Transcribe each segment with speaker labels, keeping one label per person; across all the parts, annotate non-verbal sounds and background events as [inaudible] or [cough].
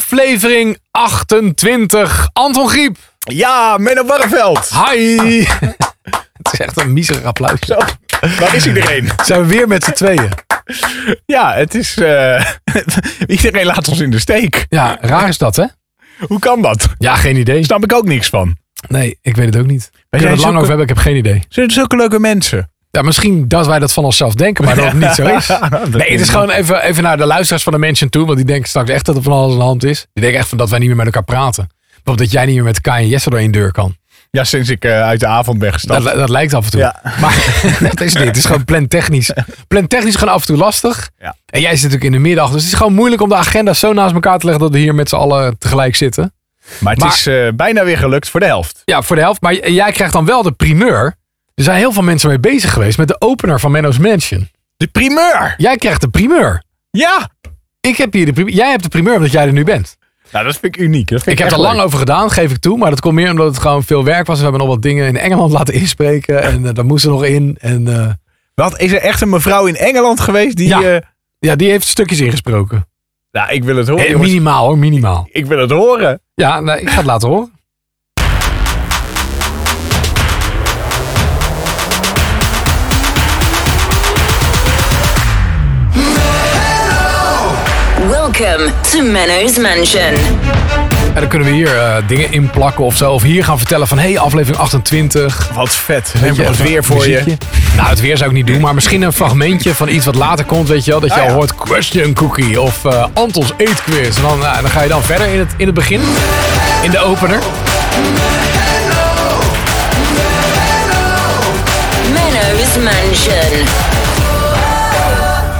Speaker 1: aflevering 28. Anton Griep.
Speaker 2: Ja, Menno Barreveld.
Speaker 1: Hi. [laughs] Het is echt een miserig applaus.
Speaker 2: Zo, waar is iedereen?
Speaker 1: Zijn we weer met z'n tweeën?
Speaker 2: Ja, het is... eh, [laughs] iedereen laat ons in de steek.
Speaker 1: Ja, raar is dat, hè?
Speaker 2: Hoe kan dat?
Speaker 1: Ja, geen idee.
Speaker 2: Snap ik ook niks van.
Speaker 1: Nee, ik weet het ook niet. We kunnen
Speaker 2: jij
Speaker 1: het lang
Speaker 2: zoeken-
Speaker 1: over hebben, ik heb geen idee.
Speaker 2: Zijn zulke leuke mensen?
Speaker 1: Ja, misschien dat wij dat van onszelf denken, maar dat het niet zo is. [laughs]
Speaker 2: Ah, nou,
Speaker 1: Nee, het is gewoon even, even naar de luisteraars van de mensen toe. Want die denken straks echt dat er van alles aan de hand is. Die denken echt van dat wij niet meer met elkaar praten. Bijvoorbeeld dat jij niet meer met Kai en Jesse door één deur kan.
Speaker 2: Ja, sinds ik eh, uit de avond ben gestapt.
Speaker 1: Dat, dat lijkt af en toe.
Speaker 2: Ja.
Speaker 1: [laughs] Maar dat is niet. Het is gewoon plantechnisch. Plantechnisch gewoon af en toe lastig.
Speaker 2: Ja.
Speaker 1: En jij zit natuurlijk in de middag. Dus het is gewoon moeilijk om de agenda zo naast elkaar te leggen dat we hier met z'n allen tegelijk zitten.
Speaker 2: maar het
Speaker 1: maar-
Speaker 2: is eh, bijna weer gelukt voor de helft.
Speaker 1: Ja, voor de helft. Maar j- jij krijgt dan wel de primeur. Er zijn heel veel mensen mee bezig geweest met de opener van Menno's Mansion.
Speaker 2: De primeur!
Speaker 1: Jij krijgt de primeur.
Speaker 2: Ja!
Speaker 1: Ik heb hier de primeur. Jij hebt de primeur omdat jij er nu bent.
Speaker 2: Nou, dat vind ik uniek. Dat vind
Speaker 1: Ik heb er
Speaker 2: echt
Speaker 1: lang
Speaker 2: leuk.
Speaker 1: over gedaan, geef ik toe. Maar dat komt meer omdat het gewoon veel werk was. We hebben nog wat dingen in Engeland [laughs] laten inspreken. En eh, daar moesten nog in. En eh,
Speaker 2: Wat, is er echt een mevrouw in Engeland geweest die...
Speaker 1: Ja.
Speaker 2: eh,
Speaker 1: ja, die heeft stukjes ingesproken.
Speaker 2: nou, ik wil het horen,
Speaker 1: Eh,
Speaker 2: jongens.
Speaker 1: minimaal hoor, minimaal.
Speaker 2: Ik wil het horen.
Speaker 1: Ja, nou, ik ga het laten horen.
Speaker 3: Welcome to Menno's Mansion.
Speaker 1: En dan kunnen we hier eh, dingen in plakken of zo. Of hier gaan vertellen van, hé, hey, aflevering 28.
Speaker 2: Wat vet. We hebben
Speaker 1: Ja,
Speaker 2: het weer voor je.
Speaker 1: muziekje. Nou, het weer zou ik niet doen. Maar misschien een fragmentje van iets wat later komt, weet je wel. Dat je
Speaker 2: Ah,
Speaker 1: al
Speaker 2: ja.
Speaker 1: hoort question cookie of eh, Antons eetquiz. En dan, nou, dan ga je dan verder in het, in het begin. In de opener.
Speaker 3: Menno's Mansion.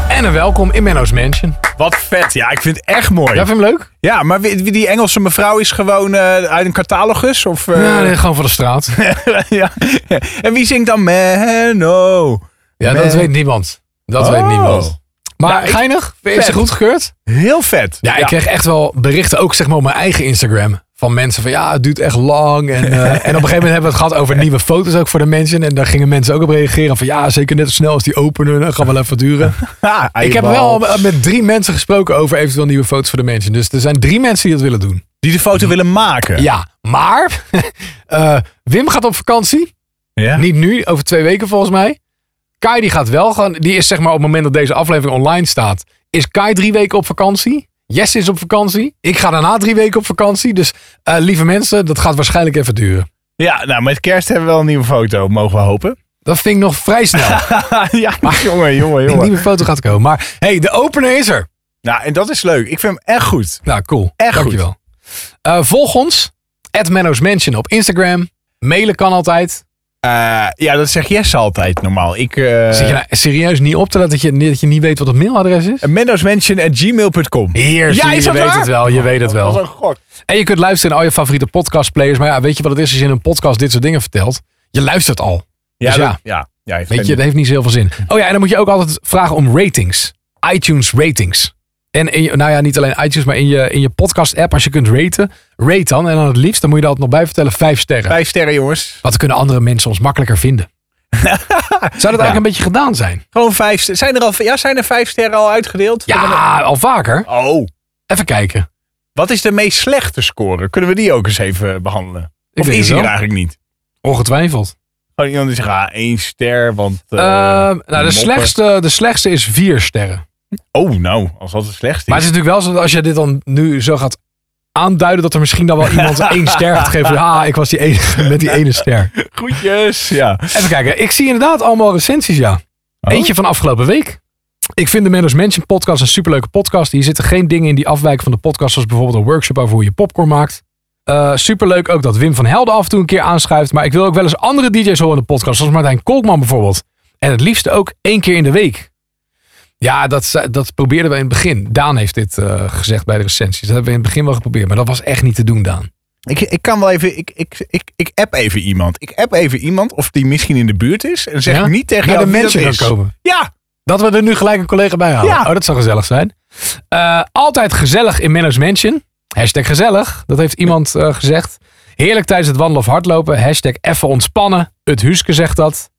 Speaker 1: En een welkom in Menno's Mansion.
Speaker 2: Wat vet. Ja, ik vind het echt mooi.
Speaker 1: Ja, vind je hem leuk?
Speaker 2: Ja, maar wie- wie die Engelse mevrouw is gewoon eh, uit een catalogus? Of, eh,
Speaker 1: Ja, nee, gewoon van de straat.
Speaker 2: [laughs] ja. En wie zingt dan
Speaker 1: Ah,
Speaker 2: Menno?
Speaker 1: Ja, dat weet niemand. Dat
Speaker 2: Oh.
Speaker 1: weet niemand. Maar
Speaker 2: Nou, ik-
Speaker 1: geinig? Is ze
Speaker 2: Vet.
Speaker 1: goedgekeurd?
Speaker 2: Heel vet.
Speaker 1: Ja, ik kreeg echt wel berichten, ook zeg maar op mijn eigen Instagram. Van mensen van ja, het duurt echt lang. En, eh, en op een gegeven moment hebben we het gehad over nieuwe foto's ook voor de mensen. En daar gingen mensen ook op reageren. Van ja, zeker net zo snel als die openen. Dat gaat wel even duren.
Speaker 2: Ha,
Speaker 1: ik heb wel
Speaker 2: eierbal.
Speaker 1: met drie mensen gesproken over eventueel nieuwe foto's voor de mensen. Dus er zijn drie mensen die dat willen doen.
Speaker 2: Die de foto willen maken.
Speaker 1: Ja, maar [laughs] eh, Wim gaat op vakantie.
Speaker 2: Ja?
Speaker 1: Niet nu, over twee weken volgens mij. Kai die gaat wel gaan. Die is zeg maar op het moment dat deze aflevering online staat. Is Kai drie weken op vakantie? Jess is op vakantie. Ik ga daarna drie weken op vakantie. Dus eh, lieve mensen, dat gaat waarschijnlijk even duren.
Speaker 2: ja, nou, met kerst hebben we wel een nieuwe foto, mogen we hopen. [laughs]
Speaker 1: Dat vind ik nog vrij [laughs] snel.
Speaker 2: ja, jongen, jongen,
Speaker 1: Een
Speaker 2: jongen.
Speaker 1: nieuwe foto gaat komen. Maar hey, de opener is er.
Speaker 2: Nou, en dat is leuk. Ik vind hem echt goed.
Speaker 1: Nou, cool.
Speaker 2: Echt
Speaker 1: Dankjewel. Eh, volg ons. At Menno's Mansion op Instagram. Mailen kan altijd.
Speaker 2: Eh, ja, dat zeg Jess altijd normaal. Ik, eh
Speaker 1: Zit je nou serieus niet op te letten dat je, dat je niet weet wat het mailadres is?
Speaker 2: menno'smansion@gmail.com.
Speaker 1: Hier,
Speaker 2: Ja,
Speaker 1: zie je, je
Speaker 2: is dat
Speaker 1: weet
Speaker 2: waar?
Speaker 1: het wel. Je weet het
Speaker 2: Dat
Speaker 1: wel.
Speaker 2: is een gok.
Speaker 1: En je kunt luisteren naar al je favoriete podcastplayers. Maar ja, weet je wat het is als je in een podcast dit soort dingen vertelt? Je luistert al.
Speaker 2: Ja,
Speaker 1: Dus ja.
Speaker 2: dat- ja. ja ik
Speaker 1: Weet
Speaker 2: vind-
Speaker 1: je, dat heeft niet zo heel veel
Speaker 2: [laughs]
Speaker 1: zin. Oh ja, en dan moet je ook altijd vragen om ratings. iTunes ratings. En in je- nou ja, niet alleen iTunes, maar in je, in je podcast app, als je kunt raten, rate dan. En dan het liefst, dan moet je er altijd nog bij vertellen, vijf sterren.
Speaker 2: Vijf sterren, jongens.
Speaker 1: Want dan kunnen andere mensen ons makkelijker
Speaker 2: [laughs]
Speaker 1: vinden. Zou dat eigenlijk een beetje gedaan zijn?
Speaker 2: Gewoon vijf sterren. Zijn er al, ja, zijn er vijf sterren al uitgedeeld?
Speaker 1: Ja, al vaker.
Speaker 2: Oh.
Speaker 1: Even kijken.
Speaker 2: Wat is de meest slechte score? Kunnen we die ook eens even eh, behandelen?
Speaker 1: Ik denk
Speaker 2: of is
Speaker 1: het
Speaker 2: die er
Speaker 1: wel.
Speaker 2: eigenlijk niet?
Speaker 1: Ongetwijfeld.
Speaker 2: Gewoon iemand die zegt, ah, één ster, want... eh,
Speaker 1: Ehm, nou, de
Speaker 2: moppen.
Speaker 1: slechtste, de slechtste is vier sterren.
Speaker 2: Oh, nou, als dat de slechtste
Speaker 1: Maar
Speaker 2: is.
Speaker 1: het is natuurlijk wel zo dat als je dit dan nu zo gaat aanduiden, dat er misschien dan wel iemand één ster gaat geven. Ah, ik was die enige met die ene ster.
Speaker 2: Groetjes, [laughs] ja.
Speaker 1: Even kijken, ik zie inderdaad allemaal recensies, ja. Eentje van afgelopen week. Ik vind de Menno's Mansion podcast een superleuke podcast. Hier zitten geen dingen in die afwijken van de podcast, zoals bijvoorbeeld een workshop over hoe je popcorn maakt. Eh, superleuk ook dat Wim van Helden af en toe een keer aanschuift. Maar ik wil ook wel eens andere DJ's horen in de podcast, zoals Martijn Kolkman bijvoorbeeld. En het liefst ook één keer in de week. Ja, dat, ze- dat probeerden we in het begin. Daan heeft dit eh, gezegd bij de recensies. Dat hebben we in het begin wel geprobeerd, maar dat was echt niet te doen, Daan.
Speaker 2: Ik, ik kan wel even... Ik, ik, ik, ik app even iemand. Ik app even iemand of die misschien in de buurt is. En zeg
Speaker 1: Ja?
Speaker 2: niet tegen
Speaker 1: Nou,
Speaker 2: jou
Speaker 1: de
Speaker 2: wie
Speaker 1: mensen
Speaker 2: dat
Speaker 1: gaan
Speaker 2: is.
Speaker 1: komen.
Speaker 2: Ja,
Speaker 1: Dat we er nu gelijk een collega bij halen.
Speaker 2: Ja.
Speaker 1: Oh, dat zou gezellig zijn. Eh, altijd gezellig in Menno's Mansion. Hashtag gezellig. Dat heeft iemand eh, gezegd. Heerlijk tijdens het wandelen of hardlopen. Hashtag even ontspannen. Het Huske zegt dat.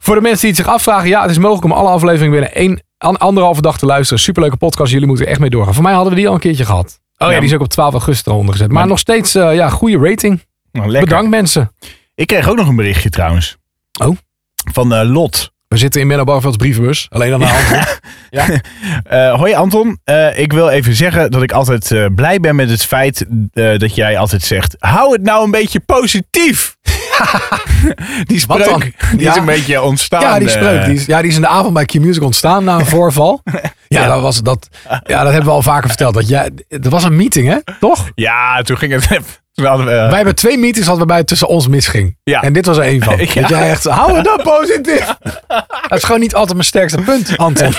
Speaker 1: Voor de mensen die het zich afvragen. Ja, het is mogelijk om alle afleveringen binnen één, an- anderhalve dag te luisteren. Superleuke podcast. Jullie moeten er echt mee doorgaan. Voor mij hadden we die al een keertje gehad. Oh ja,
Speaker 2: Ja.
Speaker 1: die is ook op 12 augustus eronder gezet. Maar
Speaker 2: Maar-
Speaker 1: nog steeds, eh, ja, goede rating.
Speaker 2: Nou, lekker.
Speaker 1: Bedankt mensen.
Speaker 2: Ik kreeg ook nog een berichtje trouwens.
Speaker 1: Oh.
Speaker 2: Van eh, Lot.
Speaker 1: We zitten in Menno Barvelds brievenbus. Alleen aan de hand.
Speaker 2: Eh, hoi Anton, Eh, ik wil even zeggen dat ik altijd eh, blij ben met het feit eh, dat jij altijd zegt: hou het nou een beetje positief. [laughs] die
Speaker 1: Wat
Speaker 2: spreuk
Speaker 1: dan?
Speaker 2: Die
Speaker 1: Ja.
Speaker 2: is een beetje ontstaan.
Speaker 1: ja, die
Speaker 2: eh,
Speaker 1: spreuk. Die is, ja, die is in de avond bij Q-Music ontstaan na een voorval. Ja, Dat, was, dat, ja dat hebben we al vaker verteld. Dat jij, er was een meeting, hè? Toch?
Speaker 2: Ja, toen ging het. [laughs] toen hadden we, eh,
Speaker 1: Wij hebben twee meetings hadden waarbij het tussen ons misging.
Speaker 2: Ja.
Speaker 1: En dit was er één van.
Speaker 2: Ja.
Speaker 1: Dat jij echt, hou het dan positief. dat is gewoon niet altijd mijn sterkste punt, Anton.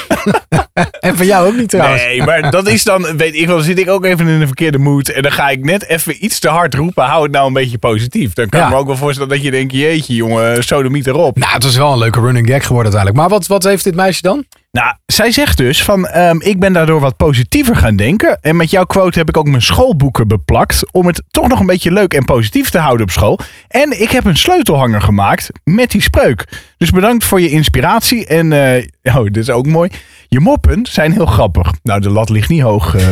Speaker 1: en van jou ook niet trouwens.
Speaker 2: Nee, maar dat is dan, weet ik wel, dan zit ik ook even in een verkeerde mood. En dan ga ik net even iets te hard roepen. Hou het nou een beetje positief. Dan kan
Speaker 1: Ja.
Speaker 2: ik me ook wel voorstellen dat je denkt, jeetje jongen, sodomiet erop.
Speaker 1: Nou, het was wel een leuke running gag geworden uiteindelijk. Maar wat, wat heeft dit meisje dan?
Speaker 2: Nou, zij zegt dus van, ehm, ik ben daardoor wat positiever gaan denken. En met jouw quote heb ik ook mijn schoolboeken beplakt. Om het toch nog een beetje leuk en positief te houden op school. En ik heb een sleutelhanger gemaakt met die spreuk. Dus bedankt voor je inspiratie. En, eh, oh, dit is ook mooi. Je moppen zijn heel grappig. Nou, de lat ligt niet
Speaker 1: [laughs]
Speaker 2: hoog. eh.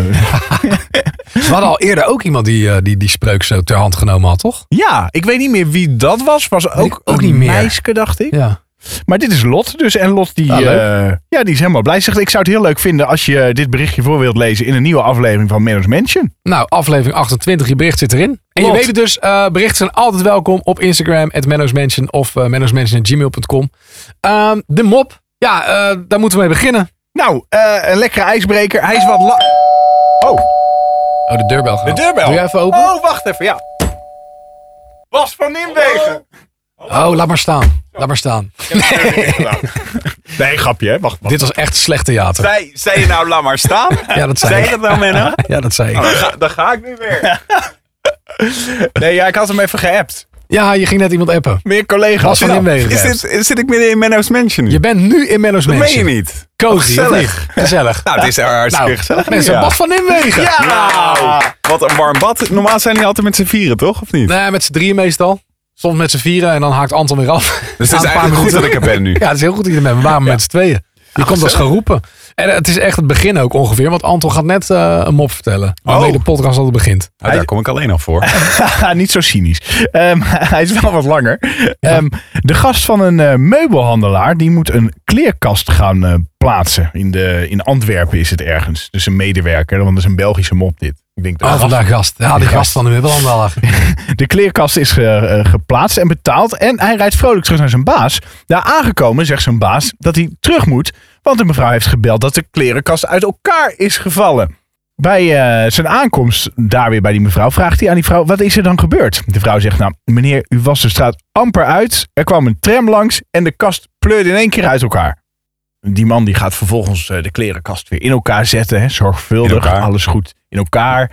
Speaker 1: We hadden al eerder ook iemand die eh, die, die spreuk zo ter hand genomen had, toch?
Speaker 2: ja, ik weet niet meer wie dat was. Was ook,
Speaker 1: ook
Speaker 2: een
Speaker 1: niet meer.
Speaker 2: meisje, dacht ik.
Speaker 1: Ja.
Speaker 2: Maar dit is Lot dus. En Lot die,
Speaker 1: Ah, leuk.
Speaker 2: eh, ja, die is helemaal blij. Ze Zegt, ik zou het heel leuk vinden als je dit berichtje voor wilt lezen in een nieuwe aflevering van Menno's Mansion.
Speaker 1: Nou, aflevering 28, je bericht zit erin. En je
Speaker 2: Klopt.
Speaker 1: weet het dus, eh, berichten zijn altijd welkom op Instagram, at mennosmansion of uh, mennosmansion.gmail.com. Ehm, de mop, ja, eh, daar moeten we mee beginnen.
Speaker 2: Nou, eh, een lekkere ijsbreker. Hij is wat lang. Oh,
Speaker 1: Oh, de deurbel gaat.
Speaker 2: de deurbel.
Speaker 1: Doe jij even open?
Speaker 2: Oh, wacht even, ja. Bas van Nimwegen.
Speaker 1: Oh, laat maar staan. Laat maar staan.
Speaker 2: Nee, grapje, hè? Wacht, wacht.
Speaker 1: Dit was echt slecht theater.
Speaker 4: Zij, zei je nou, laat maar
Speaker 1: [laughs]
Speaker 4: staan?
Speaker 1: Ja, dat zei
Speaker 4: Zei
Speaker 1: ik.
Speaker 4: je dat
Speaker 1: [laughs]
Speaker 4: nou, Menno?
Speaker 1: Ja, dat zei
Speaker 4: Dan
Speaker 1: ik.
Speaker 4: ga, dan ga ik nu
Speaker 2: [laughs]
Speaker 4: weer.
Speaker 2: Nee, ja, ik had hem even geappt.
Speaker 1: Ja, je ging net iemand appen.
Speaker 2: Meer collega's.
Speaker 1: Bas van
Speaker 2: Ja.
Speaker 1: Nimwegen.
Speaker 4: Is dit, is- zit ik midden in Menno's Mansion nu?
Speaker 1: Je bent nu in Menno's
Speaker 4: dat meen je
Speaker 1: Mansion.
Speaker 4: niet.
Speaker 1: Cozy, of
Speaker 4: Gezellig.
Speaker 1: niet? Gezellig.
Speaker 4: Nou, het is hartstikke
Speaker 1: Nou,
Speaker 4: gezellig.
Speaker 1: mensen,
Speaker 4: ja.
Speaker 1: Bas Nou. van Nimwegen.
Speaker 4: Ja!
Speaker 1: Oh.
Speaker 4: Ah, Wat een warm bad. Normaal zijn die altijd met z'n vieren, toch? Of niet?
Speaker 1: Nee, met z'n drieën meestal. Soms met z'n vieren en dan haakt Anton weer af.
Speaker 4: Dus
Speaker 1: Na [laughs]
Speaker 4: het
Speaker 1: een
Speaker 4: is
Speaker 1: paar
Speaker 4: eigenlijk goed
Speaker 1: minuten.
Speaker 4: dat ik er ben
Speaker 1: [laughs]
Speaker 4: nu. Ah,
Speaker 1: Ja, het is heel goed dat je er bent. We waren met z'n tweeën. Je komt als geroepen. En eh, het is echt het begin ook ongeveer. Want Anton gaat net eh, een mop vertellen. Waarmee
Speaker 4: Oh.
Speaker 1: de podcast altijd begint.
Speaker 4: Nou, daar kom ik alleen al
Speaker 1: [laughs]
Speaker 4: voor.
Speaker 2: Haha, niet zo cynisch. Ehm, [laughs] hij is wel wat langer. Ehm, de gast van een eh, meubelhandelaar die moet een kleerkast gaan eh, plaatsen. In, de, in Antwerpen is het ergens. Dus een medewerker, want dat is een Belgische mop dit. Ik denk dat
Speaker 1: Oh, vandaag gast. Ja, die gast van de
Speaker 4: [laughs]
Speaker 1: Wibbelhandelaar.
Speaker 2: de kleerkast is ge- eh, geplaatst en betaald. En hij rijdt vrolijk terug naar zijn baas. Daar aangekomen zegt zijn baas dat hij terug moet. Want de mevrouw heeft gebeld dat de klerenkast uit elkaar is gevallen. Bij eh, zijn aankomst daar weer bij die mevrouw vraagt hij aan die vrouw: Wat is er dan gebeurd? De vrouw zegt: Nou, meneer, u was de straat amper uit. Er kwam een tram langs en de kast pleurde in één keer uit elkaar. Die man die gaat vervolgens eh, de klerenkast weer in elkaar zetten. Hè, zorgvuldig,
Speaker 4: In elkaar.
Speaker 2: alles goed in elkaar,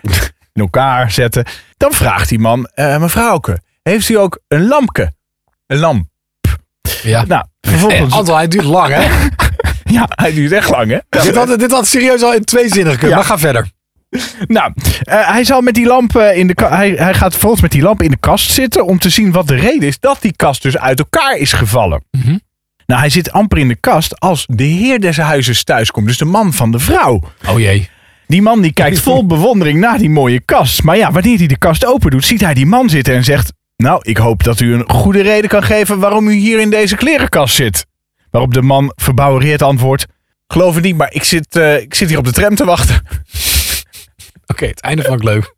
Speaker 2: in elkaar zetten. Dan vraagt die man: eh Mevrouwke, heeft u ook een lampje? Een lamp.
Speaker 1: Ja.
Speaker 2: Nou,
Speaker 1: Eh,
Speaker 2: vervolgens.
Speaker 1: Anton, hij duurt lang,
Speaker 4: [laughs]
Speaker 1: hè?
Speaker 2: [laughs] ja, hij duurt echt lang, hè?
Speaker 1: dit, had, dit had serieus al in twee zinnen kunnen.
Speaker 2: Ja.
Speaker 1: Maar ga verder.
Speaker 2: Nou, eh, hij zal met die lamp eh, in de ka- hij, hij gaat volgens met die lamp in de kast zitten om te zien wat de reden is dat die kast dus uit elkaar is gevallen.
Speaker 1: Mhm.
Speaker 2: Nou, hij zit amper in de kast als de heer des huizes thuiskomt, dus de man van de vrouw.
Speaker 1: Oh jee.
Speaker 2: Die man die kijkt vol bewondering naar die mooie kast. Maar ja, wanneer hij de kast open doet, ziet hij die man zitten en zegt: "Nou, ik hoop dat u een goede reden kan geven waarom u hier in deze klerenkast zit." Waarop de man verbouwereerd antwoordt: "Geloof het niet, maar ik zit, eh, ik zit hier op de tram te wachten."
Speaker 1: Oké, het einde vond ik leuk.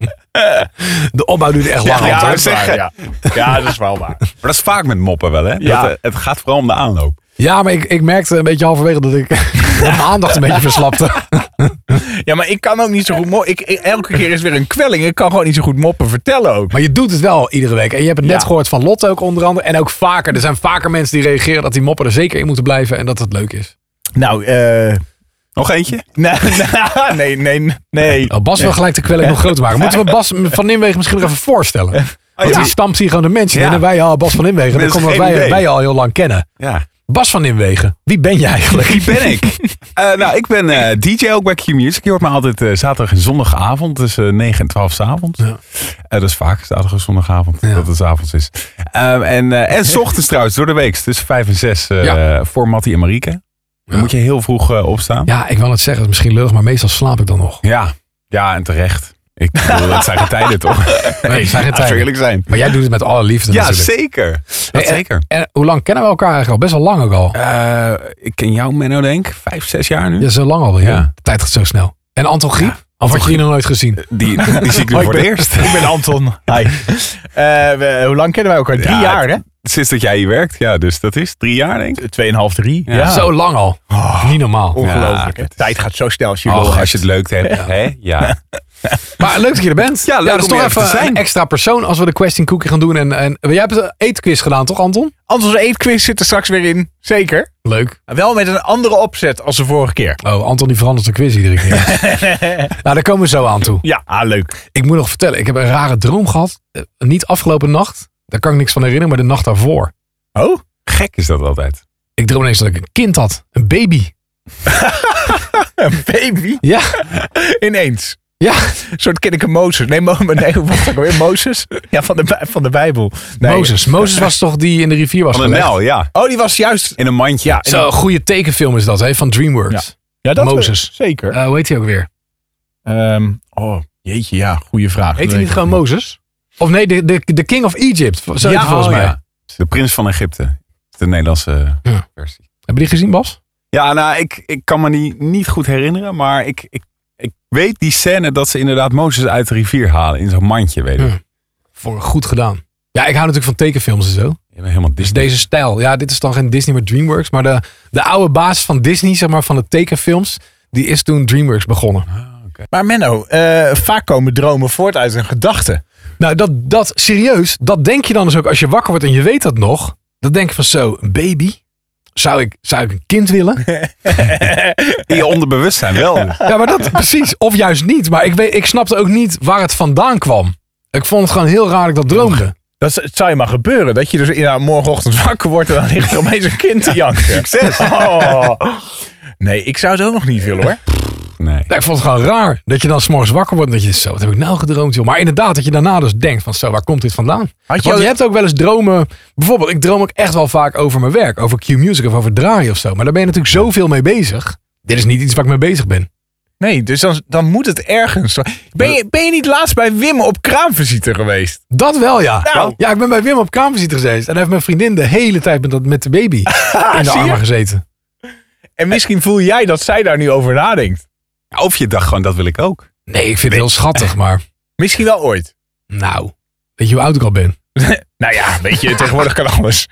Speaker 1: [laughs] de opbouw duurde echt lang.
Speaker 4: Ja,
Speaker 1: Anton.
Speaker 4: dat is echt-
Speaker 2: ja. ja, dat is wel waar.
Speaker 4: Maar dat is vaak met moppen wel, hè?
Speaker 2: Ja.
Speaker 4: Dat, eh, het gaat vooral om de aanloop.
Speaker 1: Ja, maar ik, ik merkte een beetje halverwege dat ik [laughs] dat mijn aandacht een beetje verslapte.
Speaker 2: [laughs] Ja, maar ik kan ook niet zo goed moppen. Ik, ik- elke keer is weer een kwelling. Ik kan gewoon niet zo goed moppen vertellen ook.
Speaker 1: Maar je doet het wel iedere week. En je hebt het net
Speaker 2: Ja.
Speaker 1: gehoord van Lotte ook onder andere. En ook vaker. Er zijn vaker mensen die reageren dat die moppen er zeker in moeten blijven. En dat het leuk is.
Speaker 2: Nou, eh...
Speaker 4: Nog eentje?
Speaker 2: [laughs] Nee, nee, nee, nee.
Speaker 1: Nou, Bas wil gelijk de kwelling nog groter maken. Moeten we Bas van Nimwegen misschien nog even voorstellen? Want
Speaker 4: ja.
Speaker 1: die stampt hier gewoon de mensen in.
Speaker 4: Ja.
Speaker 1: En wij al Bas van Nimwegen. Dat
Speaker 4: Mensen,
Speaker 1: komt wat
Speaker 4: geen
Speaker 1: wij,
Speaker 4: idee.
Speaker 1: wij al heel lang kennen.
Speaker 4: Ja.
Speaker 1: Bas van Nimwegen, wie ben je eigenlijk?
Speaker 4: Wie ben
Speaker 1: [laughs]
Speaker 4: ik? Eh, nou, ik ben eh, DJ ook bij Q-Music. Je hoort me altijd eh, zaterdag en zondagavond tussen eh, 9 en 12 's avonds.
Speaker 1: Ja.
Speaker 4: Eh, dat is vaak zaterdag en zondagavond dat het 's avonds is. Ehm, en, eh en 's ochtends trouwens, door de week tussen 5 en 6 eh,
Speaker 1: Ja.
Speaker 4: voor Mattie en Marieke. Dan
Speaker 1: Ja.
Speaker 4: moet je heel vroeg eh, opstaan.
Speaker 1: Ja, ik wil het zeggen. Het is misschien lullig, maar meestal slaap ik dan nog.
Speaker 4: Ja. Ja, en terecht. Ik bedoel, dat zijn geen tijden toch? [laughs]
Speaker 1: Nee, zijn geen
Speaker 4: Laten we
Speaker 1: tijden.
Speaker 4: eerlijk zijn.
Speaker 1: Maar jij doet het met alle liefde
Speaker 4: Ja,
Speaker 1: natuurlijk.
Speaker 4: zeker. Eh, Dat
Speaker 1: Hey,
Speaker 4: zeker.
Speaker 1: En hoe lang kennen we elkaar eigenlijk al? Best wel lang ook al.
Speaker 4: Eh, ik ken jou, Menno, denk ik. Vijf, zes jaar nu.
Speaker 1: Ja, zo lang al. Ja.
Speaker 4: Ja.
Speaker 1: De tijd gaat zo snel. En Anton Griep? of had je die nog nooit gezien?
Speaker 4: Die, die zie ik nu
Speaker 2: Oh, ik
Speaker 4: voor het
Speaker 2: ben-
Speaker 4: eerst.
Speaker 2: Ik ben Anton. Hi. Eh, we- hoe lang kennen wij elkaar? Drie
Speaker 4: Ja,
Speaker 2: jaar, hè?
Speaker 4: Sinds dat jij hier werkt. Ja, dus dat is drie jaar, denk ik.
Speaker 2: Tweeënhalf, drie. Ja.
Speaker 1: Zo lang al. Niet normaal.
Speaker 2: Ongelooflijk.
Speaker 4: Ja,
Speaker 2: hè? Tijd gaat zo snel als je wil.
Speaker 4: Och, als je het leuk hebt. Hè? Ja.
Speaker 1: Maar leuk dat je er bent.
Speaker 4: Ja, leuk
Speaker 1: dat is
Speaker 4: om
Speaker 1: toch
Speaker 4: hier even
Speaker 1: even
Speaker 4: te zijn.
Speaker 1: een extra persoon als we de question cookie gaan doen. En, en jij hebt een eetquiz gedaan, toch Anton?
Speaker 2: Antons eetquiz zit er straks weer in. Zeker.
Speaker 1: Leuk.
Speaker 2: Wel met een andere opzet als de vorige keer.
Speaker 1: Oh, Anton die verandert de quiz iedere keer. [laughs] nou, daar komen we zo aan toe.
Speaker 2: Ja, ah, leuk.
Speaker 1: Ik moet nog vertellen, ik heb een rare droom gehad. Eh, niet afgelopen nacht, daar kan ik niks van herinneren, maar de nacht daarvoor.
Speaker 2: Oh?
Speaker 4: Gek is dat altijd.
Speaker 1: Ik droomde ineens dat ik een kind had. Een baby.
Speaker 2: Een baby?
Speaker 1: Ja,
Speaker 2: Ineens.
Speaker 1: ja.
Speaker 2: Een soort kinneke Mozes. Nee, Mo nee wacht ook weer. Mozes? Ja, van de, Bij- van de Bijbel. Nee.
Speaker 1: Mozes. Mozes was toch die in de rivier was
Speaker 4: Van een
Speaker 1: gelegd?
Speaker 4: Nel, ja.
Speaker 2: Oh, die was juist...
Speaker 4: In een mandje. Ja,
Speaker 1: Zo, een goede tekenfilm is dat, hè, van DreamWorks.
Speaker 2: Ja, dat
Speaker 1: Mozes.
Speaker 2: Zeker.
Speaker 1: Eh, hoe heet hij ook weer?
Speaker 2: Ehm, oh, jeetje, ja. Goede vraag.
Speaker 1: Heet hij niet gewoon Mozes? Of nee, de, de, de King of Egypt, zo heet hij volgens
Speaker 2: oh,
Speaker 1: mij.
Speaker 2: ja.
Speaker 4: De prins van Egypte. De Nederlandse
Speaker 1: Ja.
Speaker 4: versie.
Speaker 1: Hebben die gezien, Bas?
Speaker 4: Ja, nou, ik, ik kan me die niet goed herinneren. Maar ik, ik, ik weet die scène dat ze inderdaad Mozes uit de rivier halen. In zo'n mandje, weet ik.
Speaker 1: Ja. Voor goed gedaan. Ja, ik hou natuurlijk van tekenfilms en zo.
Speaker 4: Je bent helemaal
Speaker 1: Dus
Speaker 4: Disney.
Speaker 1: deze stijl. Ja, dit is dan geen Disney, maar DreamWorks. Maar de, de oude baas van Disney, zeg maar, van de tekenfilms, die is toen DreamWorks begonnen.
Speaker 2: Maar Menno, eh, vaak komen dromen voort uit een gedachte.
Speaker 1: Nou, dat, dat serieus, dat denk je dan dus ook als je wakker wordt en je weet dat nog. Dan denk je van zo, een baby? Zou ik, zou ik een kind [laughs] willen?
Speaker 4: In je onderbewustzijn wel.
Speaker 1: Ja, maar dat precies. Of juist niet. Maar ik, weet, ik snapte ook niet waar het vandaan kwam. Ik vond het gewoon heel raar dat ik dat droomde.
Speaker 2: Dat is- het zou je maar gebeuren. Dat je dus inderdaad morgenochtend wakker wordt en dan ligt er opeens een kind te
Speaker 1: [laughs]
Speaker 2: janken. Succes! Nee, ik zou het ook nog niet willen hoor.
Speaker 4: Nee.
Speaker 1: Ja, ik vond het gewoon raar dat je dan s'morgens wakker wordt en dat je zo, wat heb ik nou gedroomd joh. Maar inderdaad, dat je daarna dus denkt van zo, waar komt dit vandaan?
Speaker 2: Had je
Speaker 1: Want
Speaker 2: ook-
Speaker 1: je hebt ook wel eens dromen, bijvoorbeeld ik droom ook echt wel vaak over mijn werk, over Q-music of over draaien of zo. Maar daar ben je natuurlijk zoveel mee bezig. Dit is niet iets waar ik mee bezig ben.
Speaker 2: Nee, dus dan, dan moet het ergens. Ben je, ben je niet laatst bij Wim op kraamvisite geweest?
Speaker 1: Dat wel ja.
Speaker 2: Nou.
Speaker 1: Ja, ik ben bij Wim op kamervisite gezeten en heeft mijn vriendin de hele tijd met, dat, met de
Speaker 2: [laughs]
Speaker 1: baby in de
Speaker 2: zie je?
Speaker 1: armen gezeten.
Speaker 2: En misschien voel jij dat zij daar nu over nadenkt.
Speaker 4: Of je dacht gewoon, dat wil ik ook.
Speaker 1: Nee, ik vind het heel schattig, maar
Speaker 2: Misschien wel ooit.
Speaker 1: nou, weet je hoe oud ik al ben?
Speaker 2: Nou ja, weet je, tegenwoordig kan alles. [laughs]